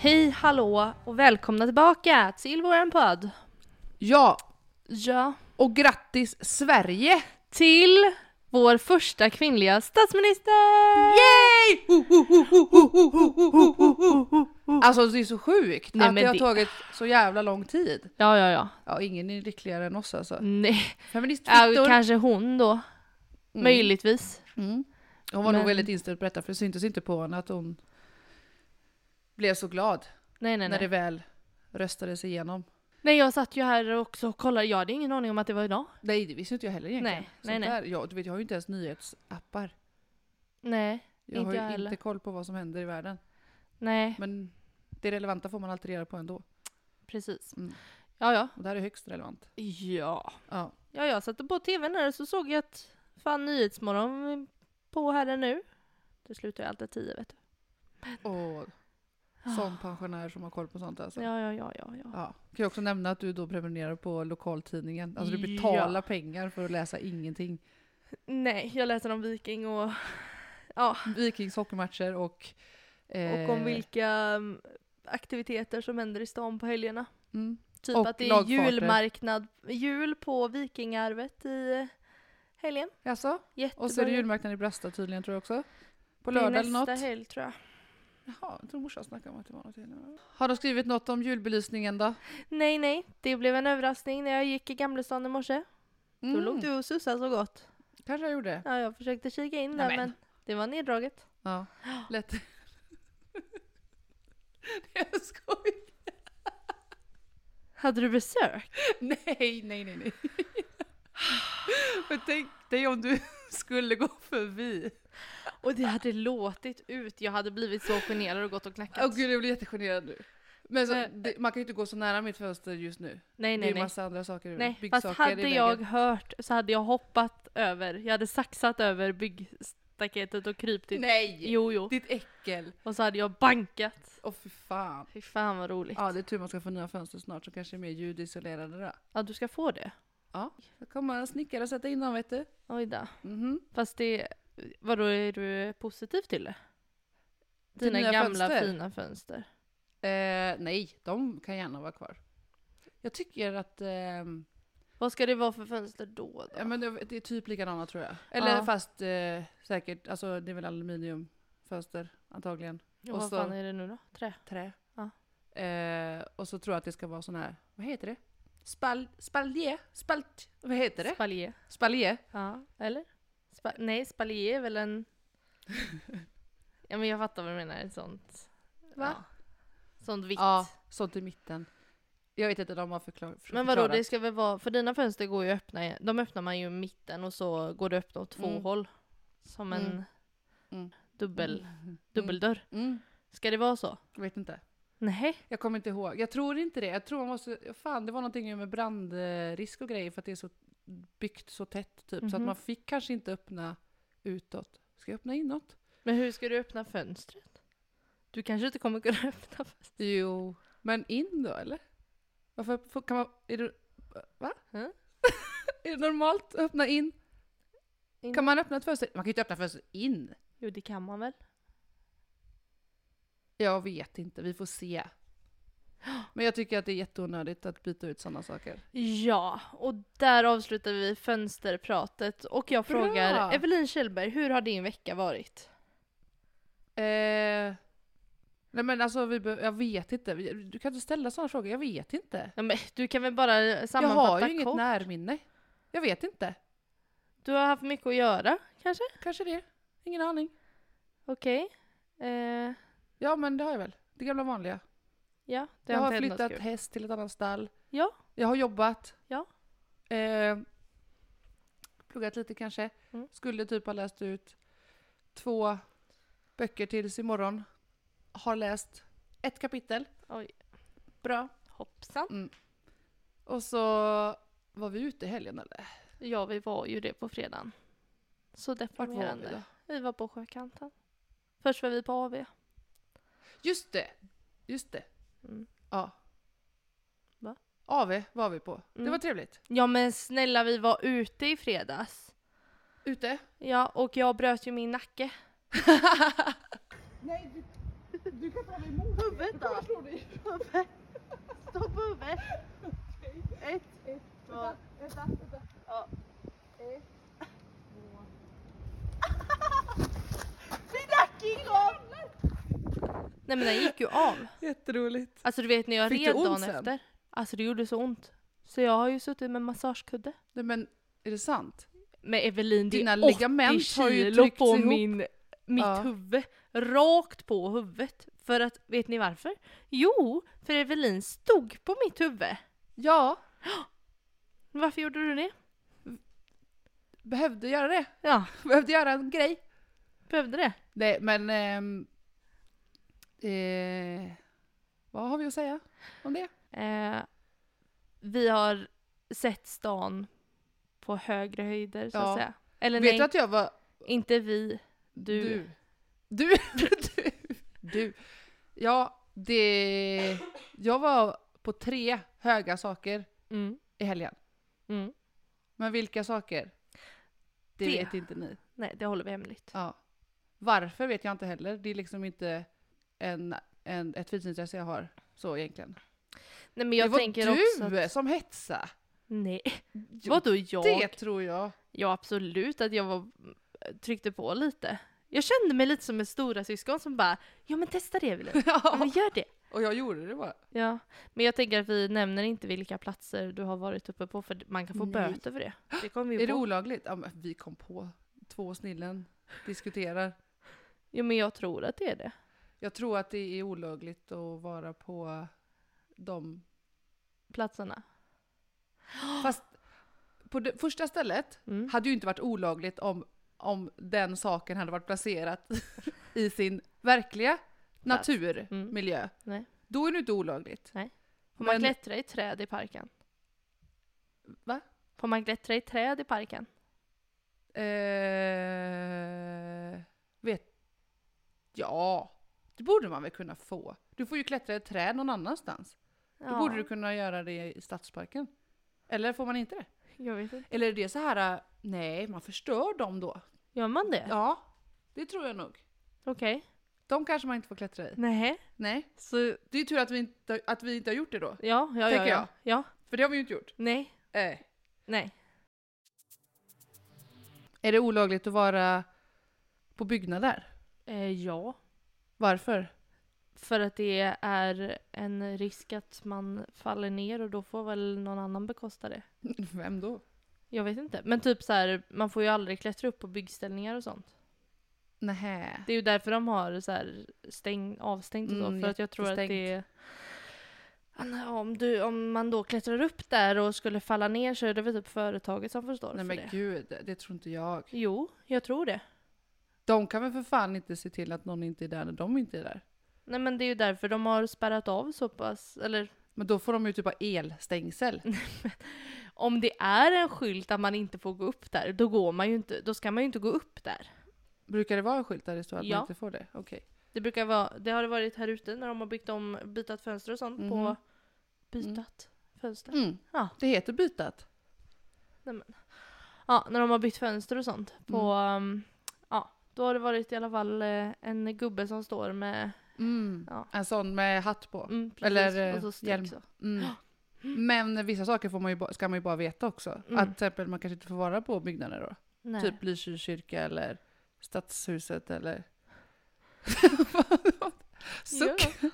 Hej, hallå och välkomna tillbaka till våran podd. Ja, Ja. och grattis Sverige! Till vår första kvinnliga statsminister! Yay! Alltså det är så sjukt Nej, att men det har det- tagit så jävla lång tid. Ja, ja, ja. Ja, ingen är lyckligare än oss alltså. Nej, ja, Feministfittor! kanske hon då. Möjligtvis. Mm. Hon var Men- nog väldigt inställd på detta för det syntes inte på henne att hon blev så glad Nej, nej, när nej. det väl röstades igenom. Nej, jag satt ju här också och kollade. Jag hade ingen aning om att det var idag. Nej, det visste inte jag heller egentligen. Nej, nej, Sånt nej. Där, ja, du vet, jag har ju inte ens nyhetsappar. Nej, Jag Inte har ju jag heller. inte koll på vad som händer i världen. nej, Men det relevanta får man alltid reda på ändå. precis. Mm. Ja, ja. Och det här är högst relevant. Ja. Ja. Ja, jag satte på tvn där och så såg jag att fan Nyhetsmorgon på här nu. Det slutar ju alltid tio vet du. Och som pensionär som har koll på sånt alltså. Ja. Ah. Ja, ja, ja, ja. ja. Kan jag också nämna att du då prenumererar på lokaltidningen. Alltså du Ja. betalar pengar för att läsa ingenting. Nej, jag läser om Viking och, ja, Vikings hockeymatcher och... och om eh, vilka mm, aktiviteter som händer i stan på helgerna. Mm, Typ Och att det är lagfarter. julmarknad, jul på Vikingarvet i eh, helgen. alltså, Jättebra. och så är det julmarknaden i Brasta tydligen tror jag också. På Det är lördag eller nästa något. helg tror jag. Jaha, jag tror morsan snackade om att det var något till. Har de skrivit något om julbelysningen då? Nej, nej, det blev en överraskning när jag gick i Gamlestan i morse. Då låg Mm, du och sussade så gott. Kanske jag gjorde. Ja, jag försökte kika in där Nämen. men det var neddraget. Ja, lätt. jag skojar. Hade du besök? Nej, nej, nej, nej. Men tänk dig om du skulle gå förbi. Och det hade låtit ut. Jag hade blivit så generad och gått och knackat. Åh gud, jag blir jättegenerad nu. Men så, Men- det, man kan ju inte gå så nära mitt fönster just nu. nej, det är nej, ju nej. massa andra saker. Nej, fast byggsaker i hade vägen. jag hört så hade jag hoppat över. Jag hade saxat över byggstaketet och krypt in. Nej! typ- Jo, jo. Ditt äckel. Och så hade jag bankat. Åh fy fan. Fy fan vad roligt. Ja. Ja, det är tur man ska få nya fönster snart så kanske är mer ljudisolerade då. du ska få det. Ja. Då kommer snickare och sätta in dem vet du. Oj då. Mhm. Fast det, vadå är du positiv till det? Till Dina nya gamla fönster? fina fönster. Eh, nej, de kan gärna vara kvar. Jag tycker att ehm, Vad ska det vara för fönster då? då? Ja, men det, det är typ likadana tror jag. Eller Ja. fast eh, säkert, alltså det är väl aluminiumfönster antagligen. och och vad så- fan är det nu då? Trä? Trä. Ja. Eh, och så tror jag att det ska vara sån här, vad heter det? Spal, spalje? Spalt? Vad heter det? Spalier? Spalje? Ja, eller? Spa- nej, spalier är väl en... ja men jag fattar vad du menar, ett sånt... Va? Ja. Sånt vitt. Ja, sånt i mitten. Jag vet inte, de har förklar, Men vadå, det förklarat. ska väl vara... För dina fönster går ju öppna, de öppnar man ju i mitten och så går det öppna åt två Mm. håll. Som en Mm. Mm. dubbel, Mm. dubbeldörr. Mm. Ska det vara så? Jag vet inte. Nej. Jag kommer inte ihåg. Jag tror inte det. Jag tror man måste, fan det var någonting med brandrisk och grejer för att det är så byggt så tätt typ. Så att Mhm. man fick kanske inte öppna utåt. Ska jag öppna inåt? Men hur ska du öppna fönstret? Du kanske inte kommer kunna öppna fönstret? Jo, men in då eller? Varför får- kan man... Är det, va? Mm. är det normalt att öppna in? In. Kan man öppna ett fönster? Man kan ju inte öppna fönstret in. Jo, det kan man väl? Jag vet inte, vi får se. Men jag tycker att det är jätteonödigt att byta ut sådana saker. Ja, och där avslutar vi fönsterpratet och jag Bra. frågar Evelin Kjellberg, hur har din vecka varit? Eh, nej men alltså, vi be- jag vet inte. Vi- Du kan inte ställa sådana frågor, jag vet inte. Ja, men du kan väl bara Jag har sammanfatta ju inget kort? närminne. Jag vet inte. Du har haft mycket att göra, kanske? Kanske det. Ingen aning. Okej. Eh, Ja men det har jag väl. Det gamla vanliga. ja, det jag har har inte hänt något flyttat kul. häst till ett annat stall. Ja. Jag har jobbat. Ja. Eh, pluggat lite kanske. Mm. Skulle typ ha läst ut två böcker tills imorgon. Har läst ett kapitel. Oj. Bra. Hoppsan. Och så var vi ute i helgen eller? Ja, vi var ju det på fredagen. Så Vart var vi deprimerande. då? Vi, var på Sjökanten. Först var vi på AV. Just det! Just det. Mm. Ja. Va? AV var vi på. Det Mm. var trevligt. Ja, men snälla, vi var ute i fredags. Ute. Ja, och jag bröt ju min nacke. Nej, du, Du kan inte hålla emot. Huvudet då? Jag slår dig. Huvudet. Stå på huvudet. Ett. Vänta, vänta, vänta. Ja. Ett, två. King Kong! Nej men den gick ju av. Jätteroligt. Alltså du vet när jag Fick red det ont dagen sen? efter. Alltså det gjorde så ont. Så jag har ju suttit med massagekudde. Nej men, är det sant? Med Evelin, det Dina är 80 ligament har ju kilo tryckts på ihop. min, mitt Ja. huvud. Rakt på huvudet. För att, vet ni varför? Jo, för Evelin stod på mitt huvud. Ja, Varför gjorde du det? behövde göra det. Ja, Behövde göra en grej. behövde det. Nej men... ehm, eh, vad har vi att säga om det? Eh, vi har sett stan på högre höjder så Ja. att säga. Eller Vet nej, du att jag var... inte vi. Du. Du. Du. du. du. Ja, det... Jag var på tre höga saker Mm. i helgen. Mm. Men vilka saker? Det, Det. vet inte ni. Nej, det håller vi hemligt. Ja. Varför vet jag inte heller. Det är liksom inte en, en, ett fritidsintresse jag har. Så egentligen. Nej men jag det var tänker också du att... som hetsa. Nej, Jo, vadå jag? Det tror jag. Ja absolut att jag var, tryckte på lite. Jag kände mig lite som en stora syskon som bara ja men testa det Evelyn, ja, men Ja. gör det. Och jag gjorde det bara. Ja, men jag tänker att vi nämner inte vilka platser du har varit uppe på för man kan få Nej. böter för det. Det kommer vi Är ju det på. olagligt? Ja, men vi kom på. Två snillen diskuterar. Jo men jag tror att det är det. Jag tror att det är olagligt att vara på de... Platserna. Fast på det första stället Mm. hade ju inte varit olagligt om, om den saken hade varit placerat i sin verkliga natur, Mm. miljö. Nej. Då är det inte olagligt. Får man Men- klättra i träd i parken? Va? Får man klättra i träd i parken? Eh, vet... Ja, det borde man väl kunna få. Du får ju klättra i ett träd någon annanstans. Då Ja, borde du kunna göra det i stadsparken. Eller får man inte det? Jag vet inte. Eller är det så här, äh, nej man förstör dem då? Gör man det? Ja, det tror jag nog. Okej. Eh. De kanske man inte får klättra i. Nej. Nej. Så, Det är ju tur att vi inte, att vi inte har gjort det då. ja, ja, ja, Tänker ja. jag. Ja, För det har vi ju inte gjort. nej, Eh. nej. Är det olagligt att vara på byggnader? Eh, ja. Varför? För att det är en risk att man faller ner och då får väl någon annan bekosta det. Vem då? Jag vet inte. Men typ så här, man får ju aldrig klättra upp på byggställningar och sånt. Nähä. Det är ju därför de har så här stäng, avstängt och så. Mm, för att jag tror att det är... jättestängt. Anna, Om, du, om man då klättrar upp där och skulle falla ner så är det väl typ företaget som förstår Nej för men det. gud, det tror inte jag. Jo, jag tror det. De kan väl för fan inte se till att någon inte är där när de inte är där. Nej men det är ju därför de har spärrat av så pass, eller Men då får de ju typ ha elstängsel. om det är en skylt att man inte får gå upp där, då går man ju inte, då ska man ju inte gå upp där. Brukar det vara en skylt där det står att Ja. man inte får det? Okej. Det brukar vara, det har det varit här ute när de har byggt om, bytat fönster och sånt på Mhm. bytat Mm. fönster. Mm. Ja. Det heter bytat. Ja, när de har bytt fönster och sånt på, Mm. um, ja, då har det varit i alla fall eh, en gubbe som står med, Mm. Ja. En sån med hatt på. mm, precis, Eller, eh, och så streck hjälm. så. Mm. Men vissa saker får man ju, ba- ska man ju bara veta också. Att till exempel man kanske inte får vara på byggnader då. Mm. Nej. Typ Lysekils kyrka eller Stadshuset eller... Suck! Ja.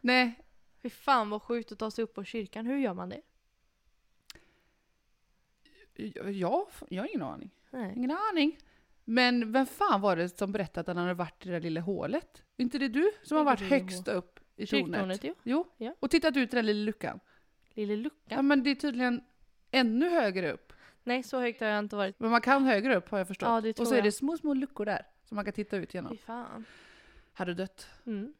Nej, Fy fan vad sjukt att ta sig upp på kyrkan, hur gör man det? jag, jag, jag har ingen aning. Nej. Ingen aning. Men vem fan var det som berättade att han hade varit i det där lilla hålet? Är inte det du som har Inte varit det lilla högst upp i tornet? Kyrktornet ju, Jo, Ja. och tittat ut i den lilla luckan. lille luckan. Ja, men det är tydligen ännu högre upp. Nej så högt har jag inte varit. Men man kan högre upp har jag förstått. Ja, det tror och så är jag. det små, små luckor där som man kan titta ut genom. Fy fan. Har du dött? Mm.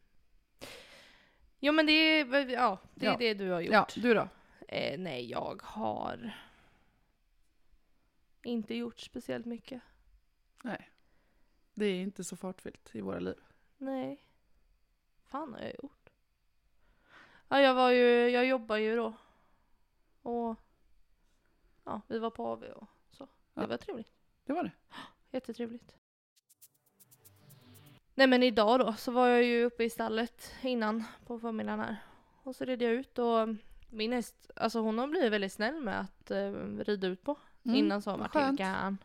Jo men det är, ja, det, är Ja. det du har gjort. Ja, du då? Eh, nej, jag har inte gjort speciellt mycket. Det är inte så fartfyllt i våra liv. Nej. Fan har jag gjort? Ja, jag var ju, jag jobbar ju då. Och ja, vi var på AV och så. Det Ja. var trevligt. Det var det. Jättetrevligt. Nej men idag då så var jag ju uppe i stallet innan på förmiddagen här. Och så red jag ut och min häst, alltså hon har blivit väldigt snäll med att eh, rida ut på. Mm, Innan så har vad varit helt skönt. gärn.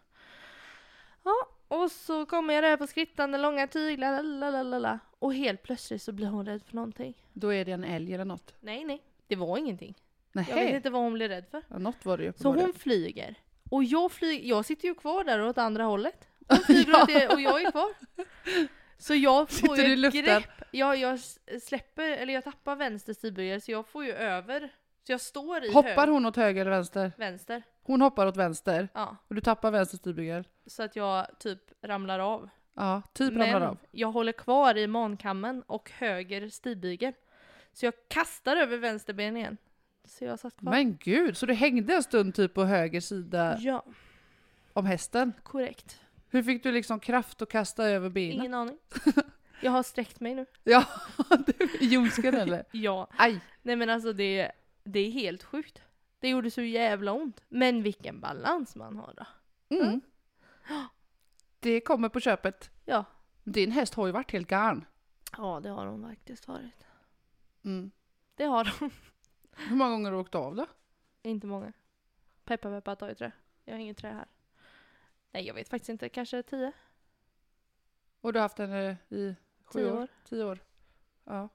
Ja, och så kommer jag där på skrittande långa tyglar, lalalala. Och helt plötsligt så blir hon rädd för någonting. Då är det en älg eller något. Nej, nej, det var ingenting. Jag vet Nej. inte vad hon blev rädd för. Ja, något var det ju Så hon uppenbarligen. flyger. Och jag, flyger, jag sitter ju kvar där åt andra hållet. Hon flyger åt det, och jag är kvar. Så jag får Sitter ju i ett luften. grepp. Ja, jag s- släpper, eller jag tappar vänster stilbygel så jag får ju över. Så jag står i Hoppar hög, hon åt höger eller vänster? vänster. Hon hoppar åt vänster. Ja, Och du tappar vänster styrbygel. så att jag typ ramlar av. Ja, typ ramlar Men av. jag håller kvar i mankammen och höger stilbygel. Så jag kastar över vänster ben igen. Så jag satt kvar. Men gud, så du hängde en stund typ på höger sida Ja, om hästen? korrekt. Hur fick du liksom kraft att kasta över benen? Ingen aning. Jag har sträckt mig nu. Ja, i ljumsken eller? Ja. Aj! Nej men alltså det, det är helt sjukt. Det gjorde så jävla ont. Men vilken balans man har då. Mm. Det kommer på köpet. Ja. Din häst har ju varit helt garn. Ja det har hon faktiskt varit. Mm. Det har hon. Hur många gånger har du åkt av då? inte många. Peppa peppa ta i trä. Jag har inget trä här. Nej jag vet faktiskt inte. Kanske tio? Och du har haft henne i sju Tio år? år. Tio år. Ja,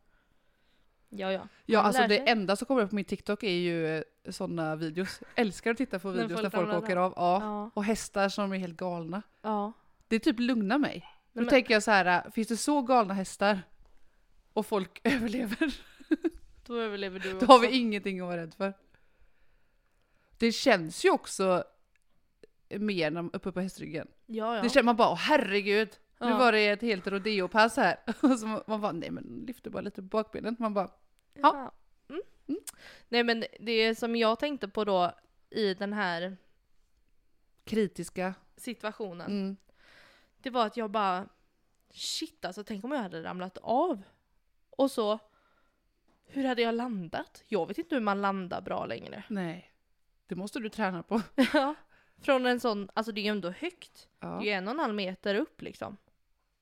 Ja ja. ja Man alltså lär sig. det enda som kommer upp på min TikTok är ju sådana videos. Älskar att titta på När videos folk när folk ramlar åker av. Ja. Ja. Och hästar som är helt galna. Ja. Det typ lugnar mig. Då Men- tänker jag så här, eh, finns det så galna hästar och folk överlever? Då överlever du Då har vi ingenting att vara rädd för. Det känns ju också mer när man uppe på hästryggen. Ja ja. Det känner man bara, "Åh, herregud! Nu Ja. var det ett helt rodeopass här. Och så man bara, nej men lyfter bara lite på bakbenet. Man bara, Ja. Mm. Nej men det som jag tänkte på då i den här kritiska. situationen. Mm. Det var att jag bara Shit alltså, tänk om jag hade ramlat av. Och så Hur hade jag landat? Jag vet inte hur man landar bra längre. Nej, det måste du träna på. Ja. Från en sån, alltså det är ju ändå högt. Det är ju Ja, en och en halv meter upp liksom.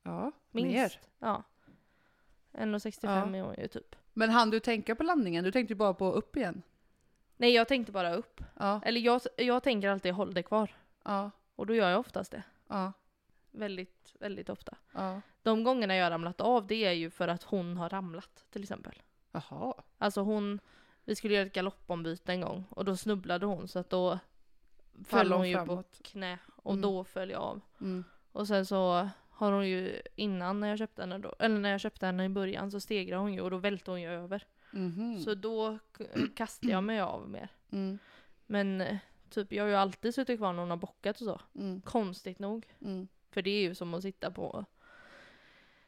ja Minst. mer. Ja. 1,65 är hon ju typ. Men hann du tänka på landningen? Du tänkte ju bara på upp igen. Nej jag tänkte bara upp. Ja, Eller jag, jag tänker alltid håll dig kvar. ja, Och då gör jag oftast det. ja, Väldigt, väldigt ofta. ja. De gångerna jag har ramlat av det är ju för att hon har ramlat till exempel. Jaha. Alltså hon, vi skulle göra ett galoppombyte en gång och då snubblade hon så att då Föll föll hon hon ju på framåt. knä och Mm. då föll jag av. Mm. Och sen så har hon ju innan när jag köpte henne då, eller när jag köpte henne i början så stegrade hon ju och då välte hon ju över. Mhm. Så då k- kastade jag mig av mer. Mm. Men eh, typ jag har ju alltid suttit kvar när hon har bockat och så. Mm. Konstigt nog. Mm. För det är ju som att sitta på...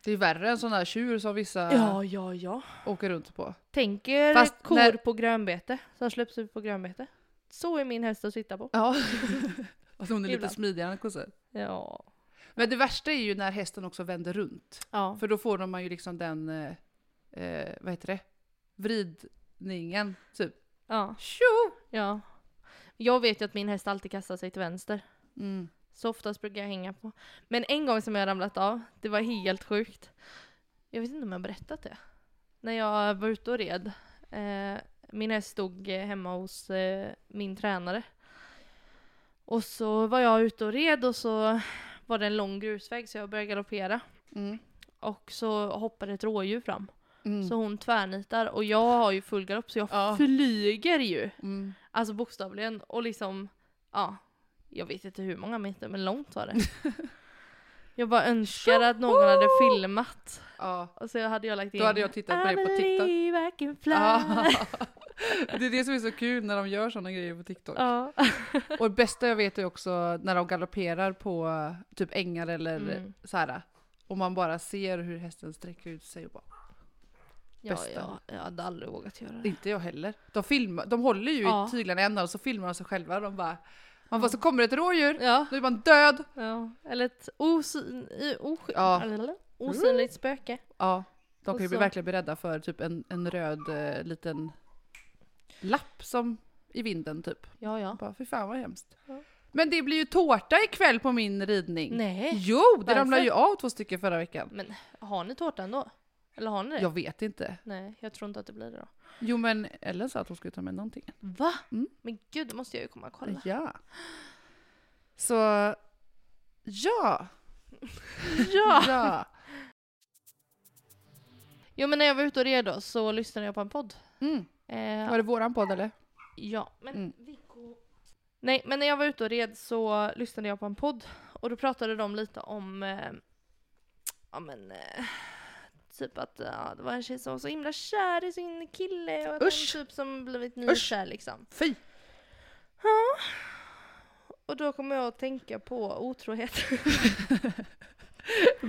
Det är värre än sådana här tjur som vissa Ja, ja, ja. åker runt på. Tänk er Fast kor när- på grönbete som släpps ut på grönbete. Så är min häst att sitta på. Ja. alltså hon är lite Ibland. smidigare än kossor. Ja. Men det värsta är ju när hästen också vänder runt. Ja. För då får de man ju liksom den, eh, eh, vad heter det, vridningen typ. ja. Tjo! Ja. Jag vet ju att min häst alltid kastar sig till vänster. Mm. Så oftast brukar jag hänga på. Men en gång som jag ramlat av, det var helt sjukt. Jag vet inte om jag har berättat det. När jag var ute och red. Eh, min häst stod eh, hemma hos eh, min tränare. Och så var jag ute och red och så var det en lång grusväg så jag började galoppera. Mm. Och så hoppade ett rådjur fram. Mm. Så hon tvärnitar och jag har ju full galopp så jag Ja. flyger ju. Mm. Alltså bokstavligen. Och liksom, ja. Jag vet inte hur många meter, men långt var det. jag bara önskar att någon hade filmat. Ja. Och så hade jag lagt in... Då hade jag tittat på det på TikTok. I believe I can fly. Ja. Det är det som är så kul när de gör sådana grejer på TikTok. Ja. Och det bästa jag vet är också när de galopperar på eh, typ ängar eller Mm. så här. Och man bara ser hur hästen sträcker ut sig och bara, Ja, Bästa. ja, jag hade aldrig vågat göra det. inte jag heller. De, filmar, de håller ju Ja. i tyglarna i ändan och så filmar de sig själva och de bara, man bara så kommer det ett rådjur, Ja, då är man död. ja. eller ett osyn, i- osky- Ja. eller osynligt spöke. Ja, de Och kan ju bli så- verkligen bli rädda för typ en, en röd eh, liten lapp som i vinden typ. Ja, ja. Bara, fy fan vad hemskt. Ja. Men det blir ju tårta ikväll på min ridning. Nej. Jo, det Varför? ramlade ju av två stycken förra veckan. Men har ni tårtan då? Eller har ni det? Jag vet inte. Nej, jag tror inte att det blir det då. Jo men Ellen sa att hon skulle ta med någonting. Va? Mm. Men gud, då måste jag ju komma och kolla. Ja. Så, ja. Ja! ja. Jo men när jag var ute och red då så lyssnade jag på en podd. Mm. Eh, Var det våran podd eller? Ja, men Mm. Viggo... Nej, men när jag var ute och red så lyssnade jag på en podd och då pratade de lite om, eh, ja men, eh, typ att ja, det var en tjej som var så himla kär i sin kille och att Usch. hon typ som blivit nykär liksom. Fy! Och då kommer jag att tänka på otrohet.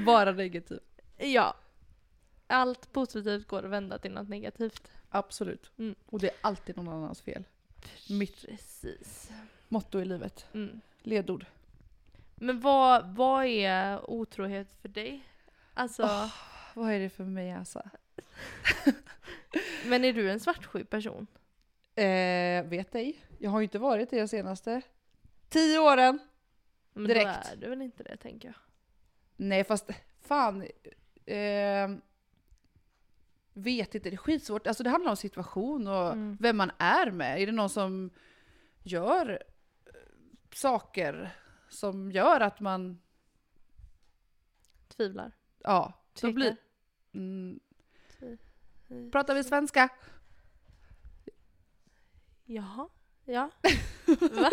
Bara negativ. ja. Allt positivt går att vända till något negativt. Absolut. Mm. Och det är alltid någon annans fel. Mitt Precis. motto i livet. Mm. Ledord. Men vad, vad är otrohet för dig? Alltså, Vad är det för mig alltså? men är du en svartsjuk person? Eh, vet ej. Jag har ju inte varit det de senaste tio åren. Men då Direkt. är du väl inte det tänker jag. Nej fast fan. Eh, vet inte, det är skitsvårt. Alltså det handlar om situation och Mm. vem man är med. Är det någon som gör eh, saker som gör att man, Tvivlar. ja. Då Tvekar. blir, mm, Tvi- i- pratar vi svenska? Jaha. Ja. Va?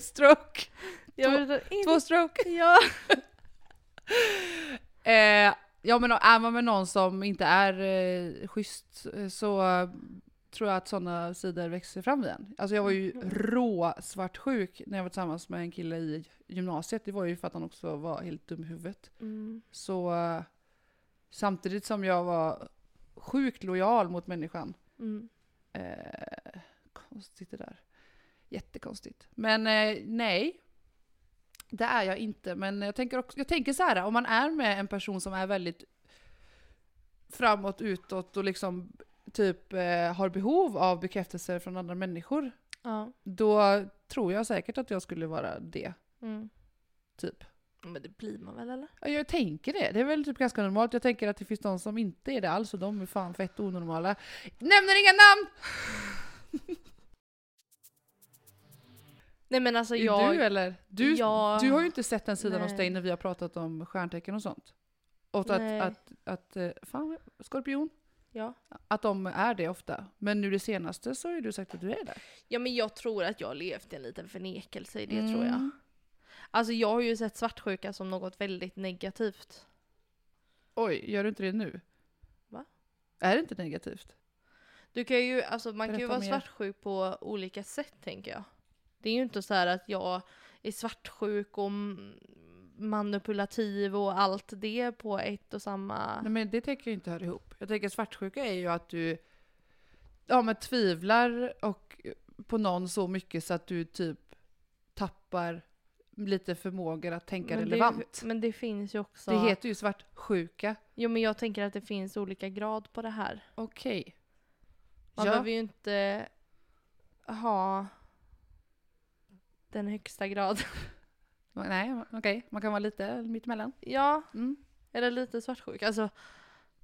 Stroke. Två- Jag vet inte. Två stroke. Ja. Eh, ja men är man med någon som inte är eh, schysst eh, så eh, tror jag att sådana sidor växer fram igen. Alltså jag var ju Mhm. rå svartsjuk när jag var tillsammans med en kille i gymnasiet. Det var ju för att han också var helt dum i huvudet. Mm. Så eh, samtidigt som jag var sjukt lojal mot människan. Mm. Eh, konstigt det där. Jättekonstigt. Men eh, nej. Det är jag inte. Men jag tänker, också, jag tänker så här, om man är med en person som är väldigt framåt, utåt och liksom typ eh, har behov av bekräftelse från andra människor. Ja. Då tror jag säkert att jag skulle vara det. Mm. Typ. Men det blir man väl eller? Ja, Jag tänker det. Det är väl typ ganska normalt. Jag tänker att det finns de som inte är det alls och de är fan fett onormala. Nämner inga namn! Nej men alltså Är jag... Du eller? Du, jag- du har ju inte sett den sidan hos Nej. dig när vi har pratat om stjärntecken och sånt. Och att, Nej. att, att, eh, fan, skorpion, Ja. att de är det ofta. Men nu det senaste så är du sagt att du är det. ja men jag tror att jag har levt i en liten förnekelse i det Mm. tror jag. Alltså jag har ju sett svartsjuka som något väldigt negativt. Oj, gör du inte det nu? Va? Är det inte negativt? Du kan ju, alltså man kan ju Berätta vara mer. svartsjuk på olika sätt tänker jag. Det är ju inte så här att jag är svartsjuk och m- manipulativ och allt det på ett och samma... Nej men det tänker jag inte höra ihop. Jag tänker svartsjuka är ju att du ja, men tvivlar och eh, på någon så mycket så att du typ tappar lite förmågor att tänka men relevant. Det, men det finns ju också... det heter ju svartsjuka. Jo men jag tänker att det finns olika grad på det här. Okej. Man Ja. behöver ju inte ha den högsta graden. Nej, okej. Man kan vara lite mittemellan. ja, Mm. eller lite svartsjuk. Alltså,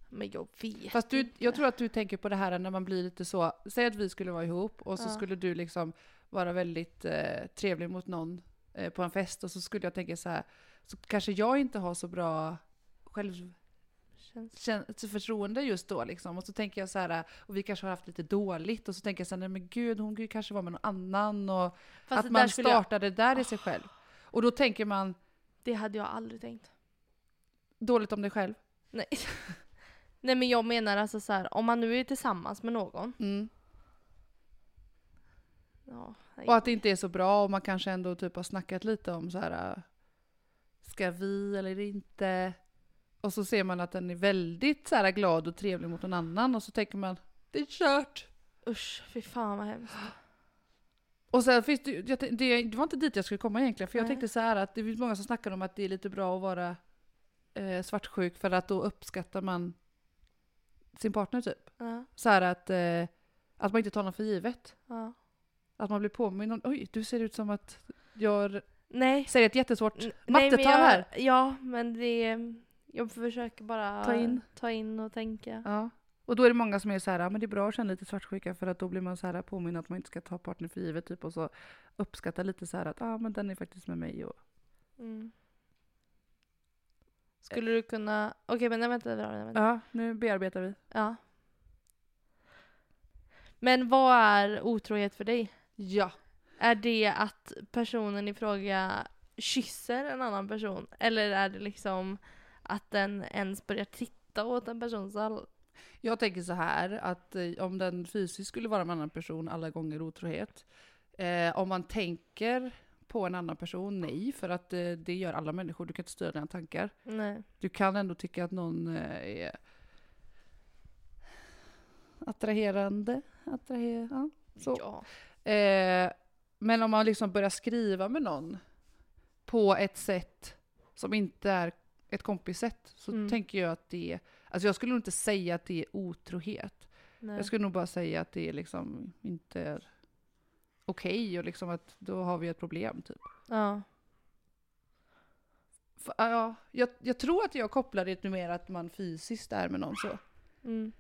men jag vet Fast du, inte. jag tror att du tänker på det här när man blir lite så, säg att vi skulle vara ihop och så Ja. skulle du liksom vara väldigt eh, trevlig mot någon eh, på en fest och så skulle jag tänka så här, så kanske jag inte har så bra själv, Känns... kän- förtroende just då liksom. Och så tänker jag så här, och vi kanske har haft lite dåligt och så tänker jag så här, nej men gud hon kanske var med någon annan och Fast det att där man skulle jag... Ah. startade där i sig själv. Och då tänker man Det hade jag aldrig tänkt. dåligt om dig själv. Nej. Nej men jag menar alltså så här, om man nu är tillsammans med någon. Mm. Ja, Och att det inte är så bra och man kanske ändå typ har snackat lite om så här. äh, Ska vi eller inte? Och så ser man att den är väldigt så här glad och trevlig mot någon annan och så tänker man det är kört. Usch, fy fan vad hemskt. Och sen finns det, ju- jag, tän- det, det var inte dit jag skulle komma egentligen för jag Nej. tänkte så här att det finns många som snackar om att det är lite bra att vara eh, svartsjuk för att då uppskattar man sin partner typ. Ja, Så här att, eh, att man inte tar någon för givet. ja. Att man blir påmind om oj du ser ut som att jag Nej. Säg ett jättesvårt N- nej, men mattetal jag- här. Ja, men det... Jag försöker bara Ta in. ta in och tänka. Ja. Och då är det många som är så här, "Ja, men det är bra att känna lite svartsjuka för att då blir man så här påminn att man inte ska ta partner för givet typ och så uppskatta lite så här att ah, men den är faktiskt med mig och Mm. Skulle du kunna... Okej, men nej, vänta. vänta, vänta. ja, nu bearbetar vi. Ja. Men vad är otrohet för dig? Ja. Är det att personen i fråga kysser en annan person? Eller är det liksom att den ens börjar titta åt en persons all... Jag tänker så här att eh, om den fysiskt skulle vara med en annan person alla gånger otrohet. Eh, om man tänker på en annan person, nej, för att eh, det gör alla människor. Du kan inte styra dina tankar. Nej. Du kan ändå tycka att någon eh, är attraherande. Attraher- ja, så. Ja. Eh, men om man liksom börjar skriva med någon på ett sätt som inte är ett kompissätt så Mm. tänker jag att det är, alltså jag skulle nog inte säga att det är otrohet. Nej. Jag skulle nog bara säga att det är liksom inte är okej och liksom att då har vi ett problem typ. Ja. F- ah, ja, jag, jag tror att jag kopplar det mer att man fysiskt är med någon så. Mm.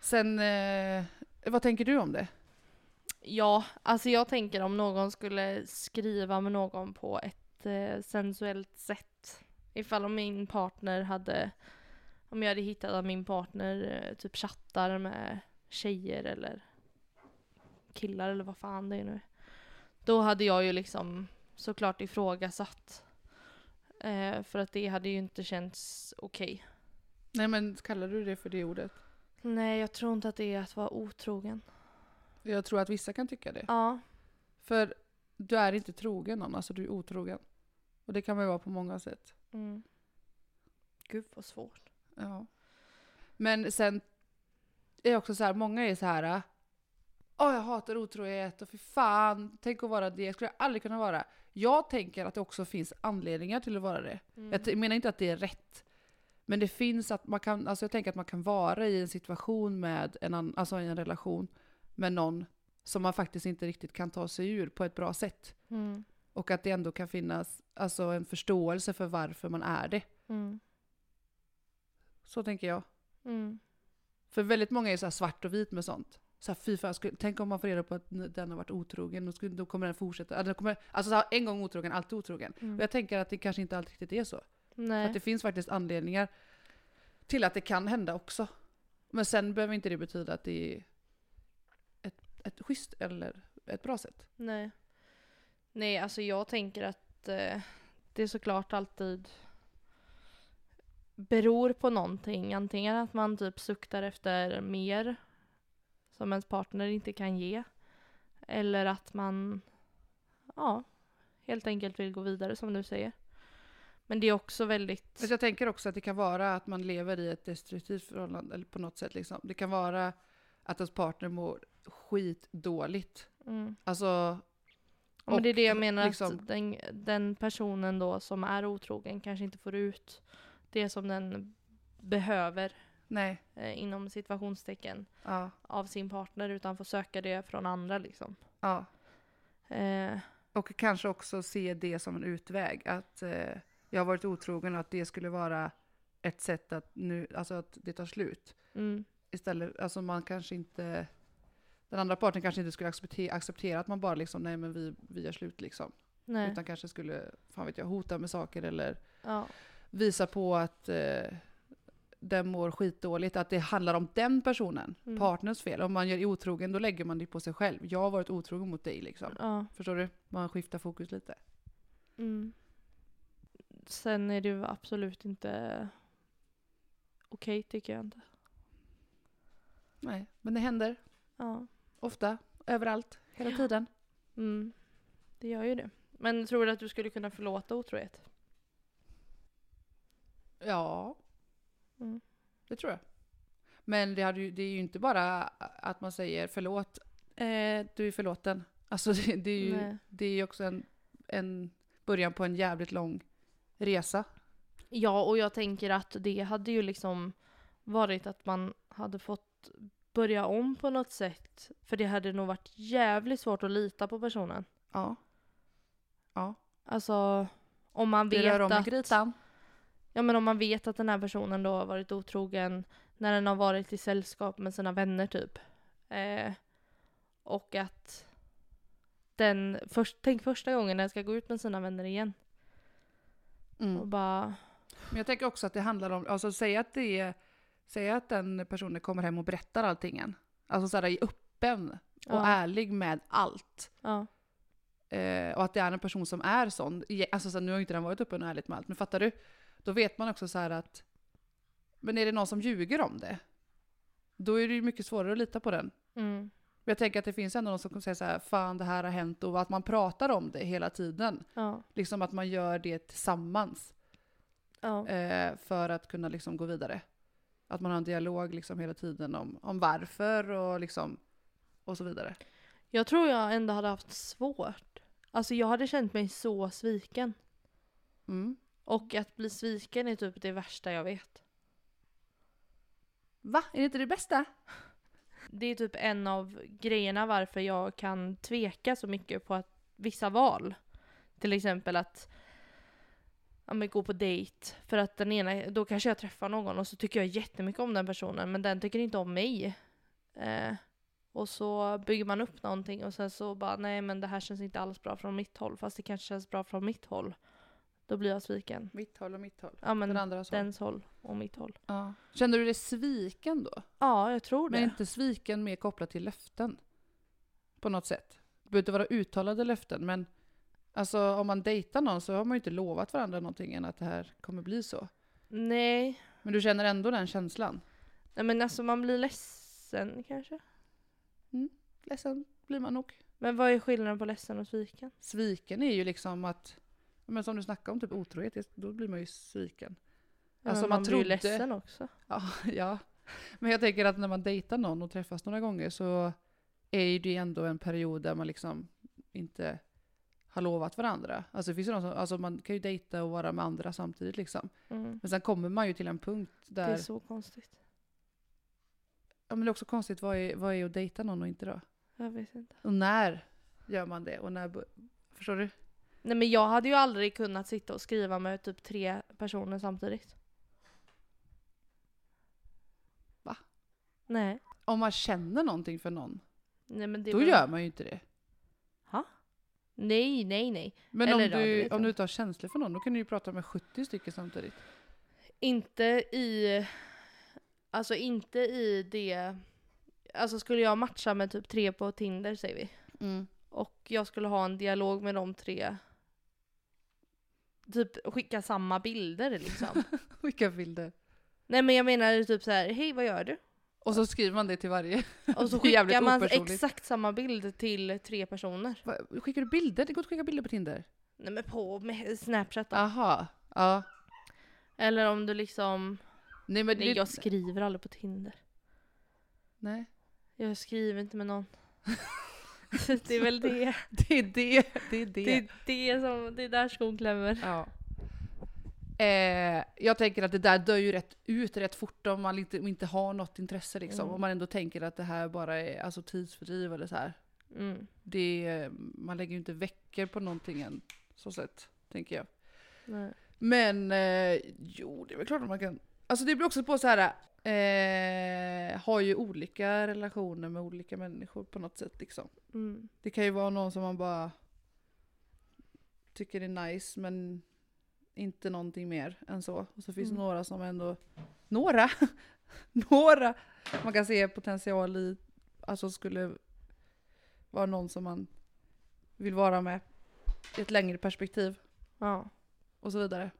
Sen, eh, vad tänker du om det? Ja, alltså jag tänker om någon skulle skriva med någon på ett eh, sensuellt sätt. Ifall om min partner hade, om jag hade hittat att min partner eh, typ chattar med tjejer eller killar eller vad fan det är nu. Då hade jag ju liksom såklart ifrågasatt. Eh, för att det hade ju inte känts okej. Nej men kallar du det för det ordet? Nej, jag tror inte att det är att vara otrogen. Jag tror att vissa kan tycka det. Ja, För du är inte trogen någon, alltså du är otrogen. Och det kan man ju vara på många sätt. mm. Gud vad svårt. Ja. Men sen är jag också så här, många är så här. Åh, jag hatar otrohet och för fan, tänk att vara det. Jag skulle aldrig kunna vara. Jag tänker att det också finns anledningar till att vara det. Mm. Jag t- menar inte att det är rätt. Men det finns att man kan, alltså jag tänker att man kan vara i en situation med en annan, alltså i en relation med någon som man faktiskt inte riktigt kan ta sig ur på ett bra sätt. Mm. Och att det ändå kan finnas alltså, en förståelse för varför man är det. Mm. Så tänker jag. Mm. För väldigt många är så här svart och vit med sånt. Så här, fy fan, skulle, tänk om man får reda på att n- den har varit otrogen, då, skulle, då kommer den fortsätta. Alltså, den kommer, alltså så här, en gång otrogen, alltid otrogen. Mm. Och jag tänker att det kanske inte alltid riktigt är så. Nej. Att det finns faktiskt anledningar till att det kan hända också. Men sen behöver inte det betyda att det är ett, ett schysst eller ett bra sätt. Nej. Nej, alltså jag tänker att eh, det såklart alltid beror på någonting. Antingen att man typ suktar efter mer som ens partner inte kan ge. Eller att man ja, helt enkelt vill gå vidare som du säger. Men det är också väldigt... Men jag tänker också att det kan vara att man lever i ett destruktivt förhållande eller på något sätt. Liksom. Det kan vara att ens partner mår skitdåligt. Mm. Alltså, Ja, men det är det jag och menar, liksom- att den, den personen då som är otrogen kanske inte får ut det som den behöver nej. eh, inom situationstecken Ja, av sin partner utan får söka det från andra liksom. ja. Eh, Och kanske också se det som en utväg. Att eh, jag har varit otrogen och att det skulle vara ett sätt att, nu, alltså att det tar slut. mm, Istället, alltså man kanske inte... Den andra parten kanske inte skulle acceptera, acceptera att man bara liksom, nej men vi, vi gör slut liksom. nej. Utan kanske skulle, fan vet jag, hota med saker eller Ja, visa på att eh, den mår skitdåligt, att det handlar om den personen, Mm. partners fel. Om man gör otrogen då lägger man det på sig själv. Jag har varit otrogen mot dig liksom. ja. Förstår du? Man skiftar fokus lite. Mm. Sen är det ju absolut inte okej tycker jag inte. Nej, men det händer Ja. ofta, överallt, hela tiden. Mm. Det gör ju det. Men tror du att du skulle kunna förlåta otrohet? Ja, Mm. det tror jag. Men det, hade ju, det är ju inte bara att man säger förlåt, eh, du är förlåten. Alltså det, det är ju Nej. det är ju också en, en början på en jävligt lång resa. Ja, och jag tänker att det hade ju liksom varit att man hade fått börja om på något sätt. För det hade nog varit jävligt svårt att lita på personen. Ja. Ja. Alltså om man Det vet rör om i att... grytan. Ja men om man vet att den här personen då har varit otrogen när den har varit i sällskap med sina vänner typ. Eh, och att den, först, tänk första gången den ska gå ut med sina vänner igen Mm. och bara Men jag tänker också att det handlar om, alltså säg att det är, säg att den personen kommer hem och berättar allting än. Alltså såhär är öppen och Ja. ärlig med allt. ja. Eh, och att det är en person som är sån. I- Alltså så här, nu har ju inte den varit öppen och ärlig med allt, men fattar du? Då vet man också så här att, men är det någon som ljuger om det? Då är det ju mycket svårare att lita på den. Mm, Men jag tänker att det finns ändå någon som kommer säga så här, fan det här har hänt och att man pratar om det hela tiden. ja, Liksom att man gör det tillsammans. ja. eh, för att kunna liksom gå vidare. Att man har en dialog liksom hela tiden om, om varför och, liksom, och så vidare. Jag tror jag ändå hade haft svårt. Alltså jag hade känt mig så sviken. Mm. Och att bli sviken är typ det värsta jag vet. Va? Är det inte det bästa? Det är typ en av grejerna varför jag kan tveka så mycket på att vissa val. Till exempel att ja, men gå på dejt. För att den ena, då kanske jag träffar någon och så tycker jag jättemycket om den personen men den tycker inte om mig. Eh, och så bygger man upp någonting och sen så bara nej men det här känns inte alls bra från mitt håll fast det kanske känns bra från mitt håll. Då blir jag sviken. Mitt håll och mitt håll. Ja men Den andra så. dens håll och mitt håll. Ja. Känner du dig sviken då? Ja jag tror det. Men inte sviken mer kopplat till löften? På något sätt. Det behöver inte vara uttalade löften men alltså, om man dejtar någon så har man ju inte lovat varandra någonting än att det här kommer bli så. Nej. Men du känner ändå den känslan? Nej men alltså man blir ledsen kanske. Ledsen blir man nog. Men vad är skillnaden på ledsen och sviken? Sviken är ju liksom att, men som du snackade om, typ otrohet, det- då blir man ju sviken. Alltså, men man blir ju trodde- ledsen också. Ja, ja. Men jag tänker att när man dejtar någon och träffas några gånger så är ju det ändå en period där man liksom inte har lovat varandra. Alltså, det finns ju någon som, alltså man kan ju dejta och vara med andra samtidigt liksom. Mm. Men sen kommer man ju till en punkt Det där... är så konstigt. ja, men det är också konstigt, vad är, vad är att dejta någon och inte då? Jag vet inte. Och när gör man det? Och när... bör- Förstår du? Nej men jag hade ju aldrig kunnat sitta och skriva med typ tre personer samtidigt. Va? Nej. Om man känner någonting för någon, Nej men det då var- gör man ju inte det. Nej nej nej. Men Eller om, radio, du, vet om jag du inte har känslor för någon, då kan du ju prata med 70 stycken samtidigt. Inte i... Alltså inte i det... Alltså skulle jag matcha med typ tre på Tinder säger vi. Mm. Och jag skulle ha en dialog med de tre. Typ skicka samma bilder liksom. Vilka bilder. Nej men jag menar typ så här, hej vad gör du? Och så skriver man det till varje. Och så Det är jävligt skickar man opersonligt. exakt samma bild till tre personer. Va, Skickar du bilder? Det går inte att skicka bilder på Tinder. Nej men på med Snapchat då. Aha. Ja. Eller om du liksom, Nej men nej det, jag skriver aldrig på Tinder. nej. Jag skriver inte med någon. det är väl det. det är det. Det är det. Det är det som, det är där skon klämmer. Ja. Eh, jag tänker att det där dör ju rätt ut rätt fort om man inte, om inte har något intresse liksom. Mm. Om man ändå tänker att det här bara är alltså, tidsfördriv eller så här. Mm. Det, man lägger ju inte veckor på någonting än. Så sett, tänker jag. Nej. Men eh, jo, det är väl klart att man kan. Alltså det blir också på så här. Eh, har ju olika relationer med olika människor på något sätt liksom. Mm. Det kan ju vara någon som man bara tycker är nice men inte någonting mer än så. Och så finns det Mm. några som ändå, några, några man kan se potential i, alltså skulle vara någon som man vill vara med i ett längre perspektiv Ja. och så vidare.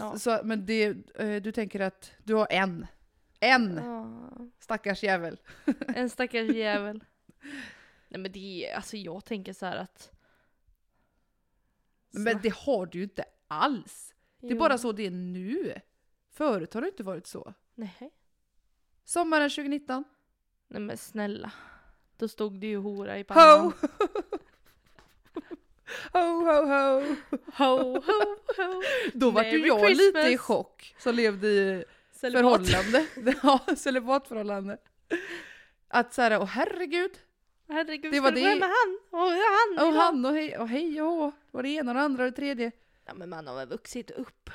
Ja. Så, men det, eh, du tänker att du har en. En ja. stackars jävel. En stackars jävel. Nej men det är, alltså jag tänker så här att... Men det har du ju inte alls. Det är Jo. bara så det är nu. Förut har det inte varit så. Nej. Sommaren 2019. Nej men snälla. Då stod det ju hora i pannan. Ho! ho, ho, ho! Ho, ho, ho. Då var Merry ju jag lite i Christmas. chock som levde i Celibat. förhållande. ja, celibatförhållande. Att såhär, åh herregud, Herregud, Det det var var ska du det- börja med han? Och han! Och idag? han och hej och hej och hå. Det var det ena och det andra och det tredje. Ja men man har väl vuxit upp.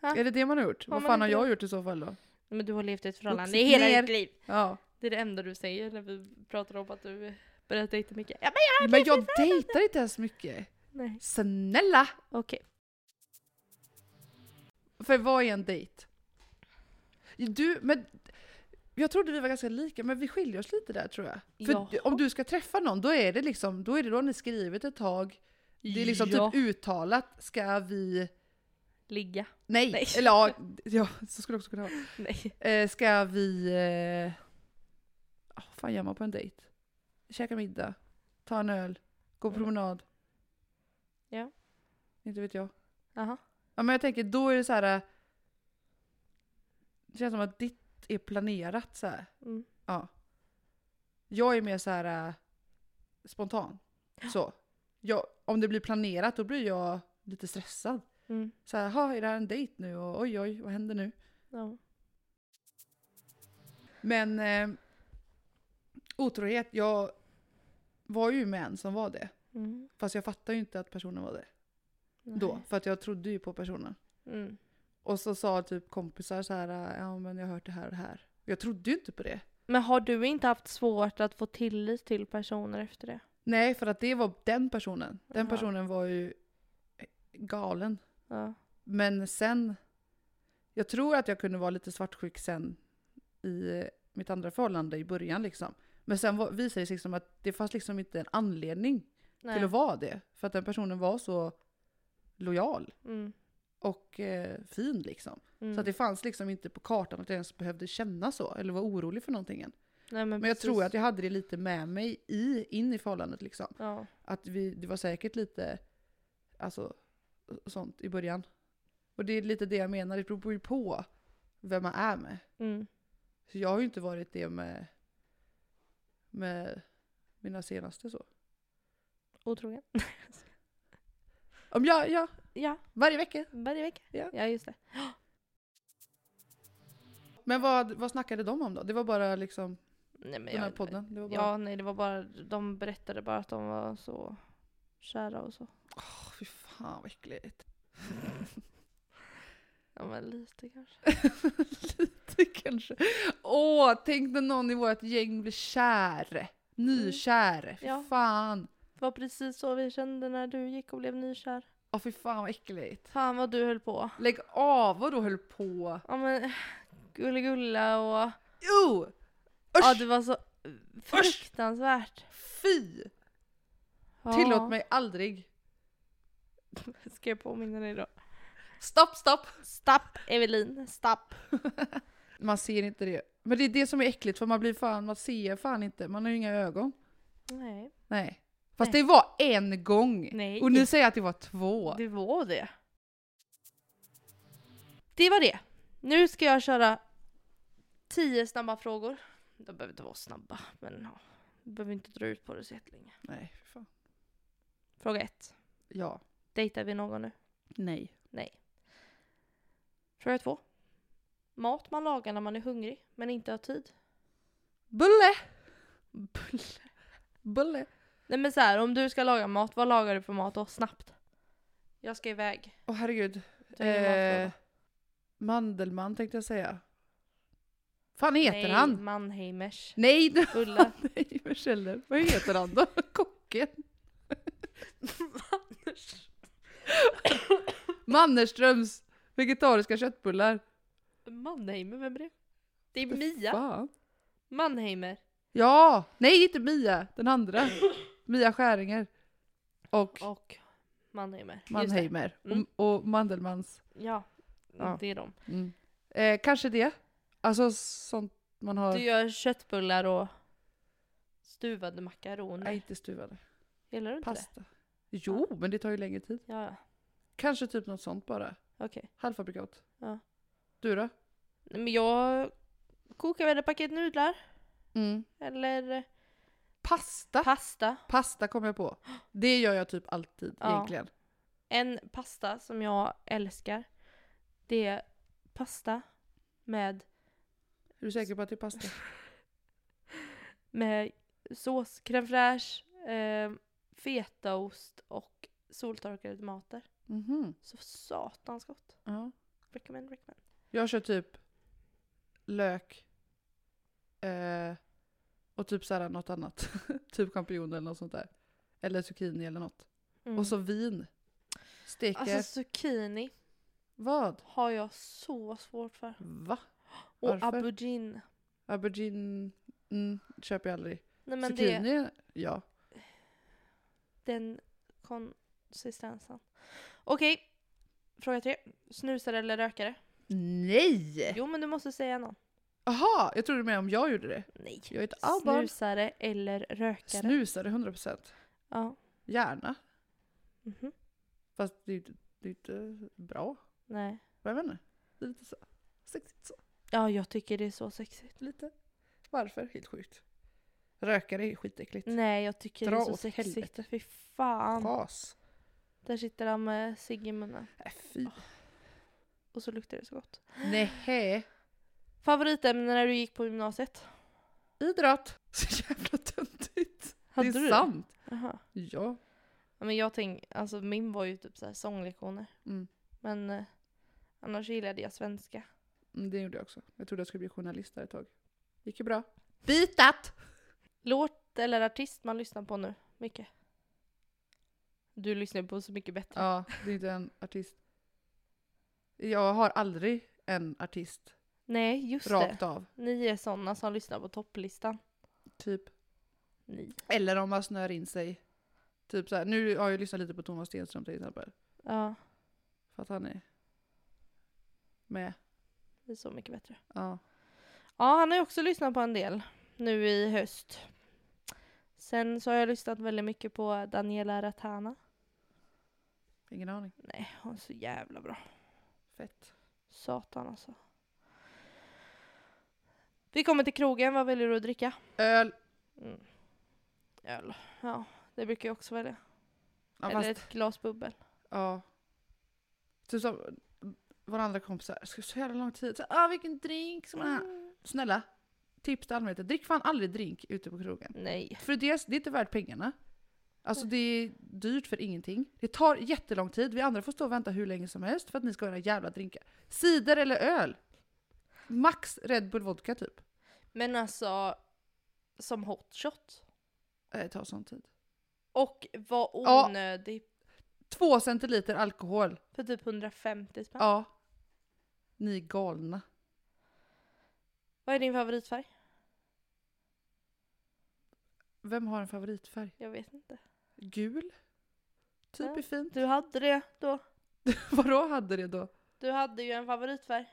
Är det det man har gjort? Har Vad man fan har inte jag gjort i så fall då? Men du har levt i ett förhållande Vuxit i hela ner. ditt liv. Ja. Det är det enda du säger när vi pratar om att du börjat dejta mycket. Ja men Men jag dejtar inte ens mycket. nej. Snälla! Okej. För vad är en dejt? Du, men... Jag trodde vi var ganska lika, men vi skiljer oss lite där tror jag. För Jaha. om du ska träffa någon, då är det liksom, då är det då ni skrivit ett tag. Det är liksom ja. typ uttalat, ska vi... Ligga. Nej! Nej. Eller ja, ja, så skulle det också kunna vara. Nej. Eh, ska vi... Eh, ah, vad fan gör man på en dejt? Käka middag, ta en öl, gå på Mm. promenad. Ja. Inte vet jag. Jaha. Ja men jag tänker, då är det så här. eh, Det känns som att ditt är planerat så här. Mm. Ja. Jag är mer så här eh, spontan. Så. Jag, om det blir planerat då blir jag lite stressad. Mm. Så här, "Ha, är det här en dejt nu? Och, oj oj, vad händer nu? Ja. Men eh, otrohet, jag var ju med en som var det. Mm. Fast jag fattade ju inte att personen var det då. Nej. För att jag trodde ju på personen. Mm. Och så sa typ kompisar så här, ja men jag har hört det här och det här. Jag trodde ju inte på det. Men har du inte haft svårt att få tillit till personer efter det? Nej, för att det var den personen. Den Jaha. personen var ju galen. Ja. Men sen, jag tror att jag kunde vara lite svartsjuk sen i eh, mitt andra förhållande i början liksom. Men sen var, visade det sig liksom att det fanns liksom inte en anledning till Nej. att vara det. För att den personen var så lojal Mm. och eh, fin liksom. Mm. Så att det fanns liksom inte på kartan att jag ens behövde känna så eller vara orolig för någonting än. Nej, men, Men jag precis. tror att jag hade det lite med mig i, in i förhållandet liksom. Ja. Att vi, det var säkert lite alltså, sånt i början. Och det är lite det jag menar, det beror ju på vem man är med. Mm. Så jag har ju inte varit det med, med mina senaste så. Otrogen. Om jag, ja, ja. varje vecka. Varje vecka. Ja. ja just det. Men vad, vad snackade de om då? Det var bara liksom Nej, men den här jag- podden? Det var bara, Ja, nej det var bara, de berättade bara att de var så kära och så. Åh, fy fan vad äckligt. Ja men lite kanske. lite kanske. Åh, tänk när någon i vårt gäng blir kär. Nykär. Fy Ja. fan. Det var precis så vi kände när du gick och blev nykär. Åh, fy fan vad äckligt. Fan vad du höll på. Lägg av, vad du höll på. Ja men gulligulla och... Jo! Usch! Ja det var så fruktansvärt. Fy! Ja. Tillåt mig aldrig. Ska jag påminna dig då? Stopp, stopp! Stapp Evelin, stapp. Man ser inte det. Men det är det som är äckligt för man blir fan, man ser fan inte. Man har ju inga ögon. Nej. Nej. Fast Nej. det var en gång. Nej. Och nu säger jag att det var två. Det var det. Det var det. Nu ska jag köra tio snabba frågor. De behöver inte vara snabba, men ja. Vi behöver inte dra ut på det så jättelänge. Nej, fy fan. Fråga ett. Ja. Dejtar vi någon nu? Nej. Nej. Fråga två. Mat man lagar när man är hungrig, men inte har tid. Bulle! Bulle. Bulle. Nej men så här, om du ska laga mat, vad lagar du för mat då? Snabbt. Jag ska iväg. Åh herregud. Ta in matfråga. Eh, Mandelmann tänkte jag säga. Fan heter Nej, han? Mannheimers. Nej, det Ulla. Nej, vad källor. Vad heter han då? Kocken? Mannerströms vegetariska köttbullar. Mannheimer, vem är det? Det är Mia. Fan. Mannheimer. Ja! Nej, inte Mia. Den andra. Mia Skäringer. Och Och Mannheimer. Just det. Mannheimer. Mm. Och, och Mandelmans. Ja, Ja. det är de. Mm. Eh, kanske det. Alltså sånt man har... Du gör köttbullar och stuvade Nej, makaroner. inte stuvade. Gillar du inte Pasta. Jo, men det tar ju längre tid. det? Ja, ja. Kanske typ något sånt bara. okej. Halvfabrikat. Ja. Du då? Nej, Men jag kokar väl ett paket nudlar. Mm. Eller eh, Pasta. pasta. Pasta kom jag på. Det gör jag typ alltid Ja. egentligen. En pasta som jag älskar. Det är pasta med, Är du säker på att det är pasta? med sås, crème fraîche, eh, fetaost och soltorkade tomater. Mhm. Så satans gott. Ja. Recommend, recommend. Jag kör typ lök eh, och typ så här något annat. typ champinjoner eller något sånt där. Eller zucchini eller något. Mm. Och så vin. Steker. alltså zucchini vad? har jag så svårt för. Va? Och Varför? aubergine. Aubergine mm, köper jag aldrig. Nej men det, zucchini? Ja. den konsistensen. Okej, fråga tre. Snusare eller rökare? Nej! Jo men du måste säga någon. Jaha, jag trodde med om jag gjorde det. Nej. Jag är ett albarn. Snusare eller rökare? Snusade 100%. ja. Gärna. Mhm. Fast det är ju inte, det är inte bra. Nej. Men Jag vet inte. Det är lite så. Sexigt så. Ja jag tycker det är så sexigt. Lite. Varför? Helt sjukt. Rökare är skitäckligt. Nej jag tycker Dra det är så åt sexigt. helvete. Fy fan. Fas. Där sitter han med cigg i munnen. Äh, fy. Ah. Och så luktar det så gott. Nähä. Favoritämne när du gick på gymnasiet? Idrott. Så jävla töntigt. Hade det är du sant. Jaha. Ja. Ja, Men jag tänkte, alltså min var ju typ så här sånglektioner. Mm. Men eh, annars gillade jag svenska. Mm, Det gjorde jag också. Jag trodde jag skulle bli journalist där ett tag. Gick ju bra. Bitat! Låt eller artist man lyssnar på nu? Mycket. Du lyssnar på Så Mycket Bättre. Ja, det är inte en artist. Jag har aldrig en artist Nej, just rakt det. av. Ni är sådana som lyssnar på topplistan. Typ. Ni. Eller om man snör in sig. Typ så här, nu har jag lyssnat lite på Thomas Stenström till exempel. Ja, För att han är med. det är Så Mycket Bättre. Ja. Ja, han har ju också lyssnat på en del nu i höst. Sen så har jag lyssnat väldigt mycket på Daniela Ratana. Ingen aning. Nej, hon är så jävla bra. Fett. Satan alltså. Vi kommer till krogen, vad väljer du att dricka? Öl. Mm. Öl. Ja, det brukar jag också välja. Ja, Eller fast, ett glas bubbel. ja. Typ som våra andra kompisar. Ska så jävla lång tid. Så, ah, vilken drink ska man ha? Mm. Snälla. Tips till allmänheten. Drick fan aldrig drink ute på krogen. Nej. För dels, det är inte värt pengarna. Alltså det är dyrt för ingenting. Det tar jättelång tid. Vi andra får stå och vänta hur länge som helst för att ni ska ha era jävla drinkar. Cider eller öl? Max Red Bull Vodka typ. Men alltså, som hot shot. Eh, Det tar sån tid. Och var Ja. onödig Två centiliter alkohol. för typ 150 spänn. Ja. Ni är galna. Vad är din favoritfärg? Vem har en favoritfärg? Jag vet inte. Gul? Typ Ja. är fint. Du hade det då. Vadå hade det då? Du hade ju en favoritfärg.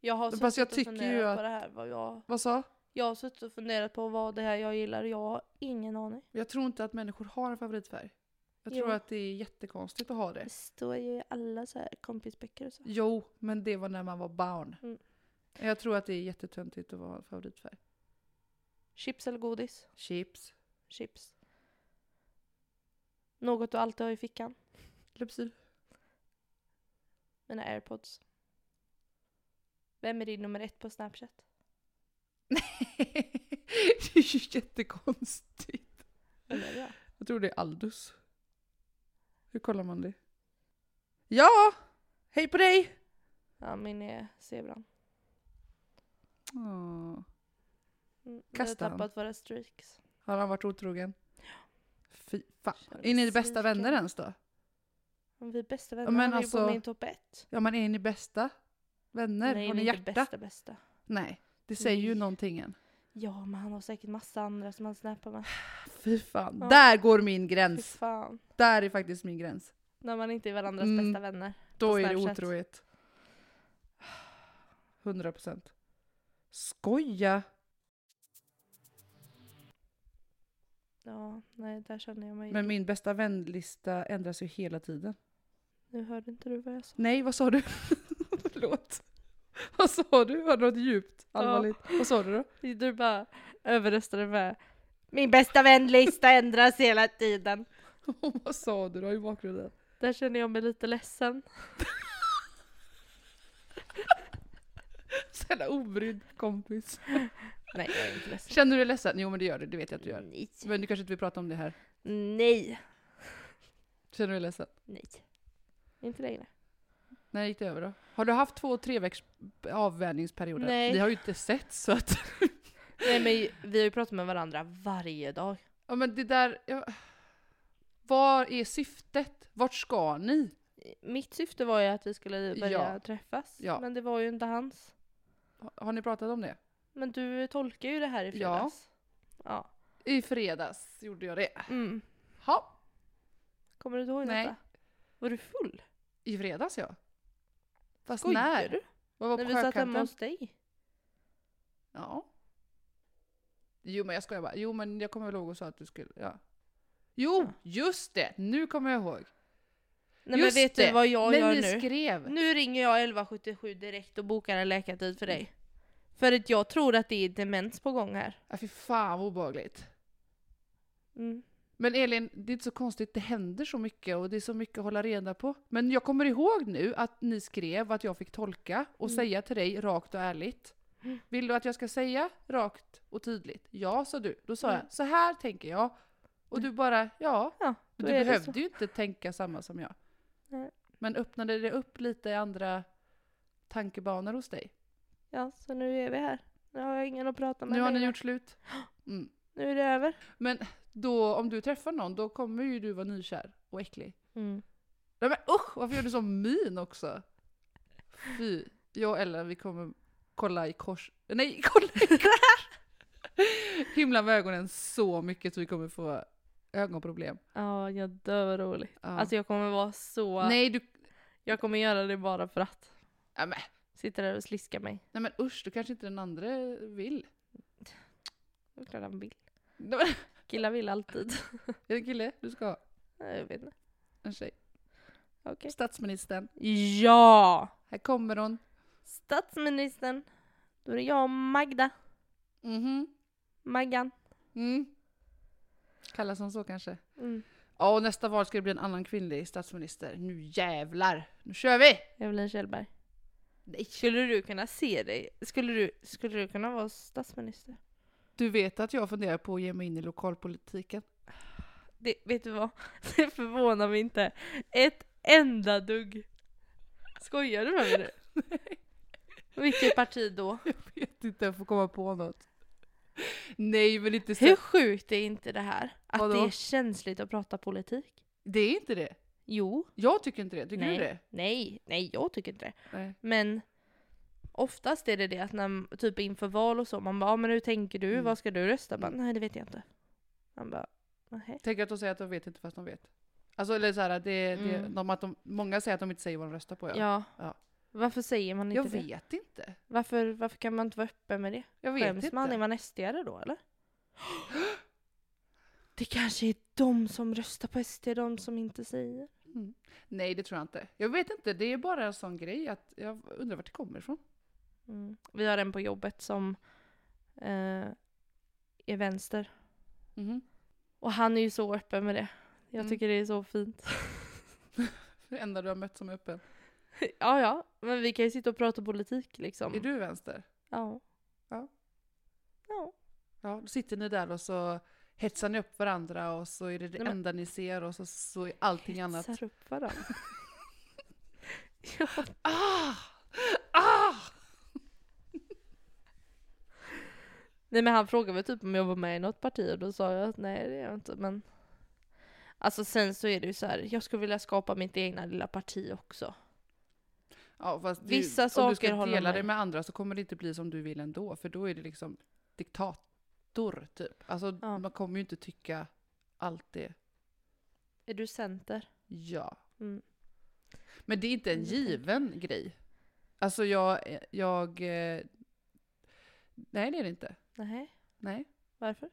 Jag har Men suttit fast jag och tycker funderat ju på att- det här. Vad jag, Vad sa? jag har suttit och funderat på vad det här jag gillar och jag har ingen aning. Jag tror inte att människor har en favoritfärg. Jag Jo. tror att det är jättekonstigt att ha det. Det står ju i alla så här kompisböcker och så. Jo, men det var när man var barn. Mm. Jag tror att det är jättetöntigt att vara favoritfärg. Chips eller godis? Chips. Chips. Något du alltid har i fickan? Lypsyl. Mina airpods. Vem är din nummer ett på Snapchat? det är ju jättekonstigt. Vem är jag? Jag tror det är Aldus. Hur kollar man det? Ja! Hej på dig! Ja, min är zebran. Åh. Mm, Vi har Kasta han. tappat våra streaks. Har han varit otrogen? Fy fan. Känner Är ni mig bästa sviken. vänner ens då? Men vi är bästa vänner. men han är ju alltså- på min topp ett. Ja men är ni bästa vänner? har vi ni är hjärta? inte bästa bästa. Nej, det säger ju Nej. någonting än. Ja, men han har säkert massa andra som han snappar med. Fy fan, Ah. Ja. där går min Fy gräns. fan. Där är faktiskt min gräns. När man inte är varandras Mm. bästa vänner. Då på är det Snapchat. otrohet. 100 procent. Skoja! Ja, nej, där känner jag mig. Men min bästa vänlista ändras ju hela tiden. Nu hörde inte du vad jag sa. Nej, vad sa du? Förlåt. Vad sa du? Var det något djupt? Allvarligt? Vad sa du då? Du bara överröstade med min bästa vänlista ändras hela tiden. vad sa du då i bakgrunden? Där känner jag mig lite ledsen. Så jävla obrydd kompis. Nej, jag är inte ledsen. Känner du dig ledsen? Jo men det gör du, det vet jag att du gör. Nej. Mm. Men du kanske inte vill prata om det här. Nej. Känner du dig ledsen? Nej. Inte längre. När gick det över då? Har du haft två tre veckors avvänjningsperioder? Nej. Vi har ju inte sett så att... Nej men vi har ju pratat med varandra varje dag. Ja men det där... Ja. Vad är syftet? Vart ska ni? Mitt syfte var ju att vi skulle börja Ja. träffas. Ja. Men det var ju inte hans. Har- Har ni pratat om det? Men du tolkar ju det här i Ja. fredags. Ja. I fredags gjorde jag det. Mm. Ja, Kommer du inte ihåg Nej. detta? Var du full? i fredags ja. Fast Skojar när? du? Vad var När på vi satt hemma sjökanten? hos dig? Ja. Jo men jag skojar bara. Jo men jag kommer väl ihåg och sa att du skulle... Ja. Jo, Ja. just det! Nu kommer jag ihåg. Nej Just men vet det. du vad jag men gör ni nu? skrev! Nu ringer jag 1177 direkt och bokar en läkartid för dig. För att jag tror att det är demens på gång här. Ja, fy fan vad obehagligt. Mm. Men Elin, det är inte så konstigt. Det händer så mycket och det är så mycket att hålla reda på. Men jag kommer ihåg nu att ni skrev att jag fick tolka och Mm. säga till dig rakt och ärligt. Vill du att jag ska säga rakt och tydligt? Ja, sa du. Då sa Mm. jag, så här tänker jag. Och du bara, ja. Ja, Du då är det behövde så. ju inte tänka samma som jag. Nej. Men öppnade det upp lite i andra tankebanor hos dig? Ja, så nu är vi här. Nu har jag ingen att prata med Nu har ni längre. gjort slut. Mm. Nu är det över. Men då, om du träffar någon, då kommer ju du vara nykär och äcklig. Mm. Nej men usch, varför gör du sån min också? Fy. Jag och Ellen vi kommer kolla i kors... Nej, kolla i kors! Himla med ögonen så mycket så vi kommer få ögonproblem. Ja, jag dör vad roligt. Ja. Alltså jag kommer vara så... nej, du, Jag kommer göra det bara för att. Ja, men. Sitta där och sliska mig. nej men usch, du kanske inte den andra vill. Det är klart han vill. Nej, men- Killar vill alltid. Är det en kille du ska ha? Nej, jag vet inte. En tjej? Okej. Statsministern. Ja! Här kommer hon. Statsministern. Då är det jag och Magda. Mhm. Maggan. Mm. Kallas hon så kanske? Mm. Ja, och nästa val ska det bli en annan kvinnlig statsminister. Nu jävlar! Nu kör vi! Evelyn Kjellberg. Nej. Skulle du kunna se dig? Skulle du, skulle du kunna vara statsminister? Du vet att jag funderar på att ge mig in i lokalpolitiken. Det, vet du vad? Det förvånar mig inte ett enda dugg. Skojar du med mig nu? Vilket parti då? Jag vet inte, jag får komma på något. Nej, men inte så. Hur sjukt är inte det här? Att Vadå? det är känsligt att prata politik? Det är inte det. Jo. Jag tycker inte det. Tycker nej, du det? Nej, nej jag tycker inte det. Nej. Men oftast är det det att när, typ inför val och så, man bara ah, men hur tänker du? Mm. Vad ska du rösta? Bara, Mm. nej det vet jag inte. Man bara nej. Tänk att de säger att de vet inte fast de vet. Alltså, eller så här, det, det, Mm. de, att de, många säger att de inte säger vad de röstar på. Ja. Ja. Ja. Varför säger man jag inte det? vet inte. Varför, varför kan man inte vara öppen med det? Jag vet Skäms inte. man? Är man SD-are då eller? Det kanske är de som röstar på SD, de som inte säger. Nej, det tror jag inte. Jag vet inte, det är bara en sån grej att jag undrar vart det kommer ifrån. Mm. Vi har en på jobbet som eh, är vänster. Mhm. Och han är ju så öppen med det. Jag Mm. tycker det är så fint. Det enda du har mött som är öppen. ja, ja. Men vi kan ju sitta och prata politik liksom. Är du vänster? Ja. Ja. Ja. Ja, då sitter ni där och så hetsar ni upp varandra och så är det det Nej, men- enda ni ser och så, så är allting annat. Hetsar upp varandra. ja. Ah! Ah! Nej men han frågade mig typ om jag var med i något parti och då sa jag att nej det är jag inte men Alltså sen så är det ju så här, jag skulle vilja skapa mitt egna lilla parti också. Ja, fast du, Vissa om du saker ska håller dela med. det med andra så kommer det inte bli som du vill ändå, för då är det liksom diktator typ. Alltså Ja. man kommer ju inte tycka allt det. Är du center? Ja. Mm. Men det är inte en Jag vet inte. given grej. Alltså jag, jag... eh, Nej det är det inte. Nej, Nej. varför?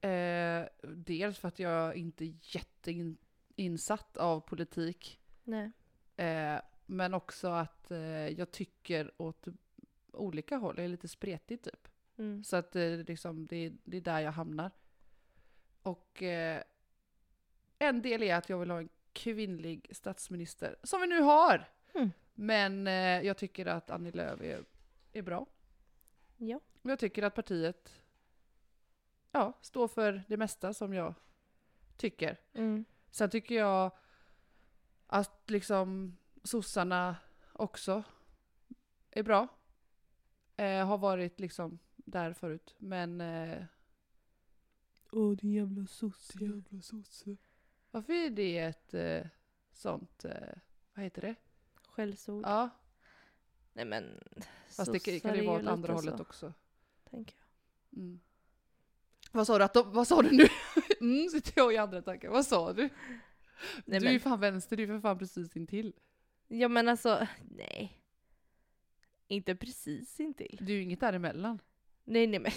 Eh, dels för att jag inte är jätteinsatt av politik. Nej. Eh, men också att eh, jag tycker åt olika håll. Jag är lite spretig typ. Mm. Så att eh, liksom, det, är- det är där jag hamnar. Och eh, en del är att jag vill ha en kvinnlig statsminister, som vi nu har! Mm. Men eh, jag tycker att Annie Lööf är, är bra. Ja. Men Jag tycker att partiet ja, står för det mesta som jag tycker. Mm. Sen tycker jag att liksom sossarna också är bra. Eh, har varit liksom där förut, men... Eh, Åh, din jävla sosse. jävla sosse. Varför är det ett eh, sånt... Eh, vad heter det? Skällsord. Ja, Nej men. fast det kan- kan ju vara åt andra hållet också. också. Tänker jag. Mm. Vad sa du att de, vad sa du nu? mm, sitter jag i andra tankar. Vad sa du? Nej, du är men- ju fan vänster, du är för fan precis intill. Ja men alltså, nej. Inte precis intill. Du är ju inget däremellan. Nej nej men.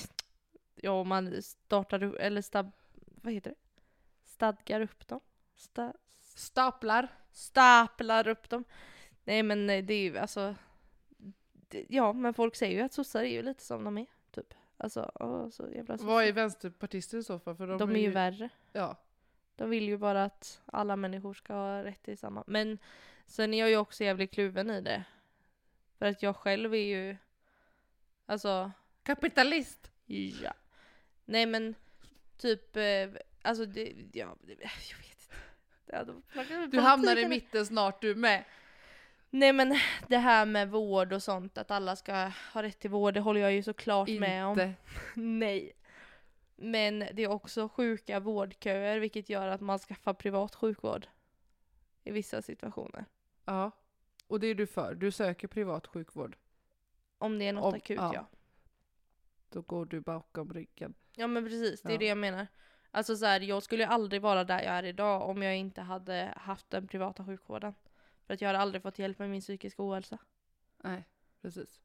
Ja om man startar upp, eller stab, vad heter det? Stadgar upp dem. Sta, Staplar. staplar upp dem. Nej men eh, det är ju alltså. det- Ja men folk säger ju att sossar är ju lite som de är. Typ. Alltså, åh, så jävla sossar. Vad är vänsterpartister i så fall? För de, De är ju värre. Ja. De vill ju bara att alla människor ska ha rätt till samma. Men sen är jag ju också jävligt kluven i det. För att jag själv är ju, alltså, Kapitalist! ja. Nej men, typ, eh, alltså det, ja, det, jag vet inte. Ja, då snackar vi Du hamnar i politiken. mitten snart du med. Nej men det här med vård och sånt, att alla ska ha rätt till vård, det håller jag ju såklart med om. Inte. Nej. Men det är också sjuka vårdköer vilket gör att man skaffar privat sjukvård. I vissa situationer. Ja. Och det är du för. Du söker privat sjukvård. Om det är något Om- akut ja. ja. ja. Då går du bakom ryggen. men precis, det är Ja. det jag menar. Alltså så här, jag skulle ju aldrig vara där jag är idag om jag inte hade haft den privata sjukvården. För att jag hade aldrig fått hjälp med min psykiska ohälsa. Nej, precis.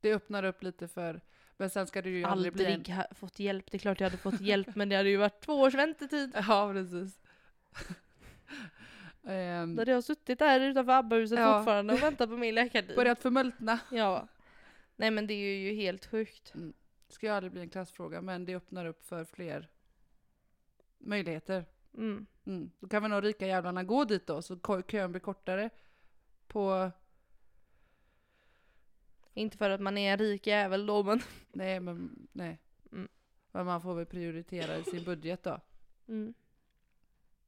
Det öppnar upp lite för... Men sen ska det ju aldrig, bli en... Aldrig ha fått hjälp, det är klart jag hade fått hjälp men det hade ju varit två års väntetid. Ja, precis. Ehm, Då hade jag suttit där utanför ABBA-huset Ja. fortfarande och väntat på min läkartid. börjat förmultna. Ja. Nej men det är ju helt sjukt. Ska ju aldrig bli en klassfråga, men det öppnar upp för fler möjligheter. Mm. Mm. Då kan väl de rika jävlarna gå dit då, så ko- kön blir kortare på Inte för att man är en rik jävel då men. Nej, men nej. Mm. Men man får väl prioritera i sin budget då. Mm.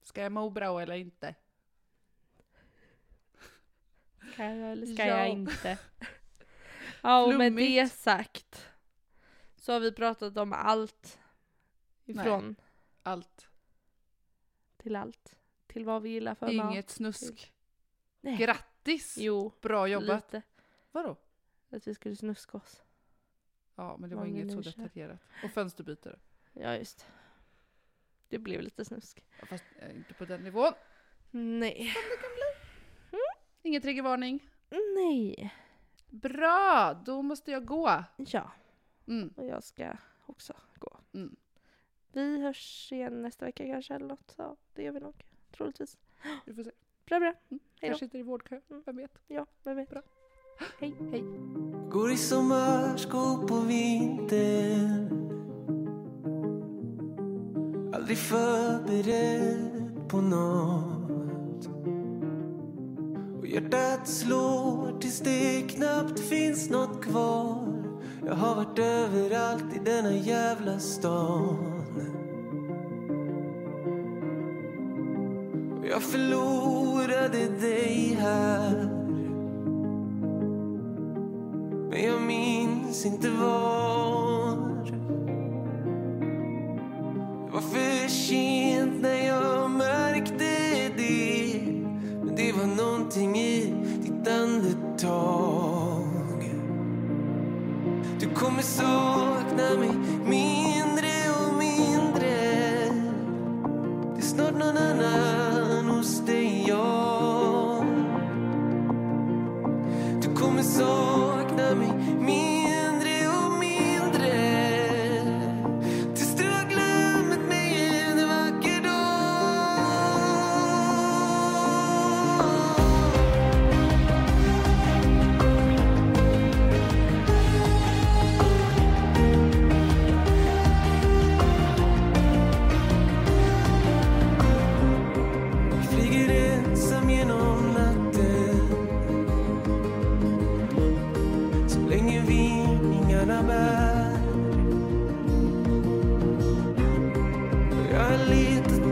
Ska jag må bra eller inte? Ska jag eller ska Ja. jag inte? Ja och med Flummigt. det sagt. Så har vi pratat om allt. Ifrån Allt. till allt. Till vad vi gillar för mat. Inget snusk. Nej. Grattis! Mm. Jo, Bra jobbat. lite. Vadå? Att vi skulle snuska oss. Ja, men det var Vad vi inget så nu kör. detaljerat. Och fönsterbytare. Ja just. Det blev lite snusk. Fast eh, inte på den nivån. Nej. Ingen triggervarning. Nej. Bra! Då måste jag gå. Ja, Mm. och jag ska också gå. Mm. Vi hörs igen nästa vecka kanske eller något. Ja, det gör vi nog. Troligtvis. Vi får se. Bra bra. Hej då. Kanske sitter i vårdkö. Mm. Vem vet? Ja, vem vet. Bra. Hej. Hej. Går i sommarskor på vintern Aldrig förberedd på något Och hjärtat slår tills det knappt finns något kvar Jag har varit överallt i denna jävla stan Och Jag förlorade dig här men jag minns inte var Det var för sent när jag märkte det Men det var någonting i ditt andetag Du kommer sakna mig mindre och mindre Det är snart någon annan hos dig jag du kommer sakna mig mindre och mindre Tills du har glömt mig en vacker dag Jag flyger ensam genom natten så länge vingarna bär bara litet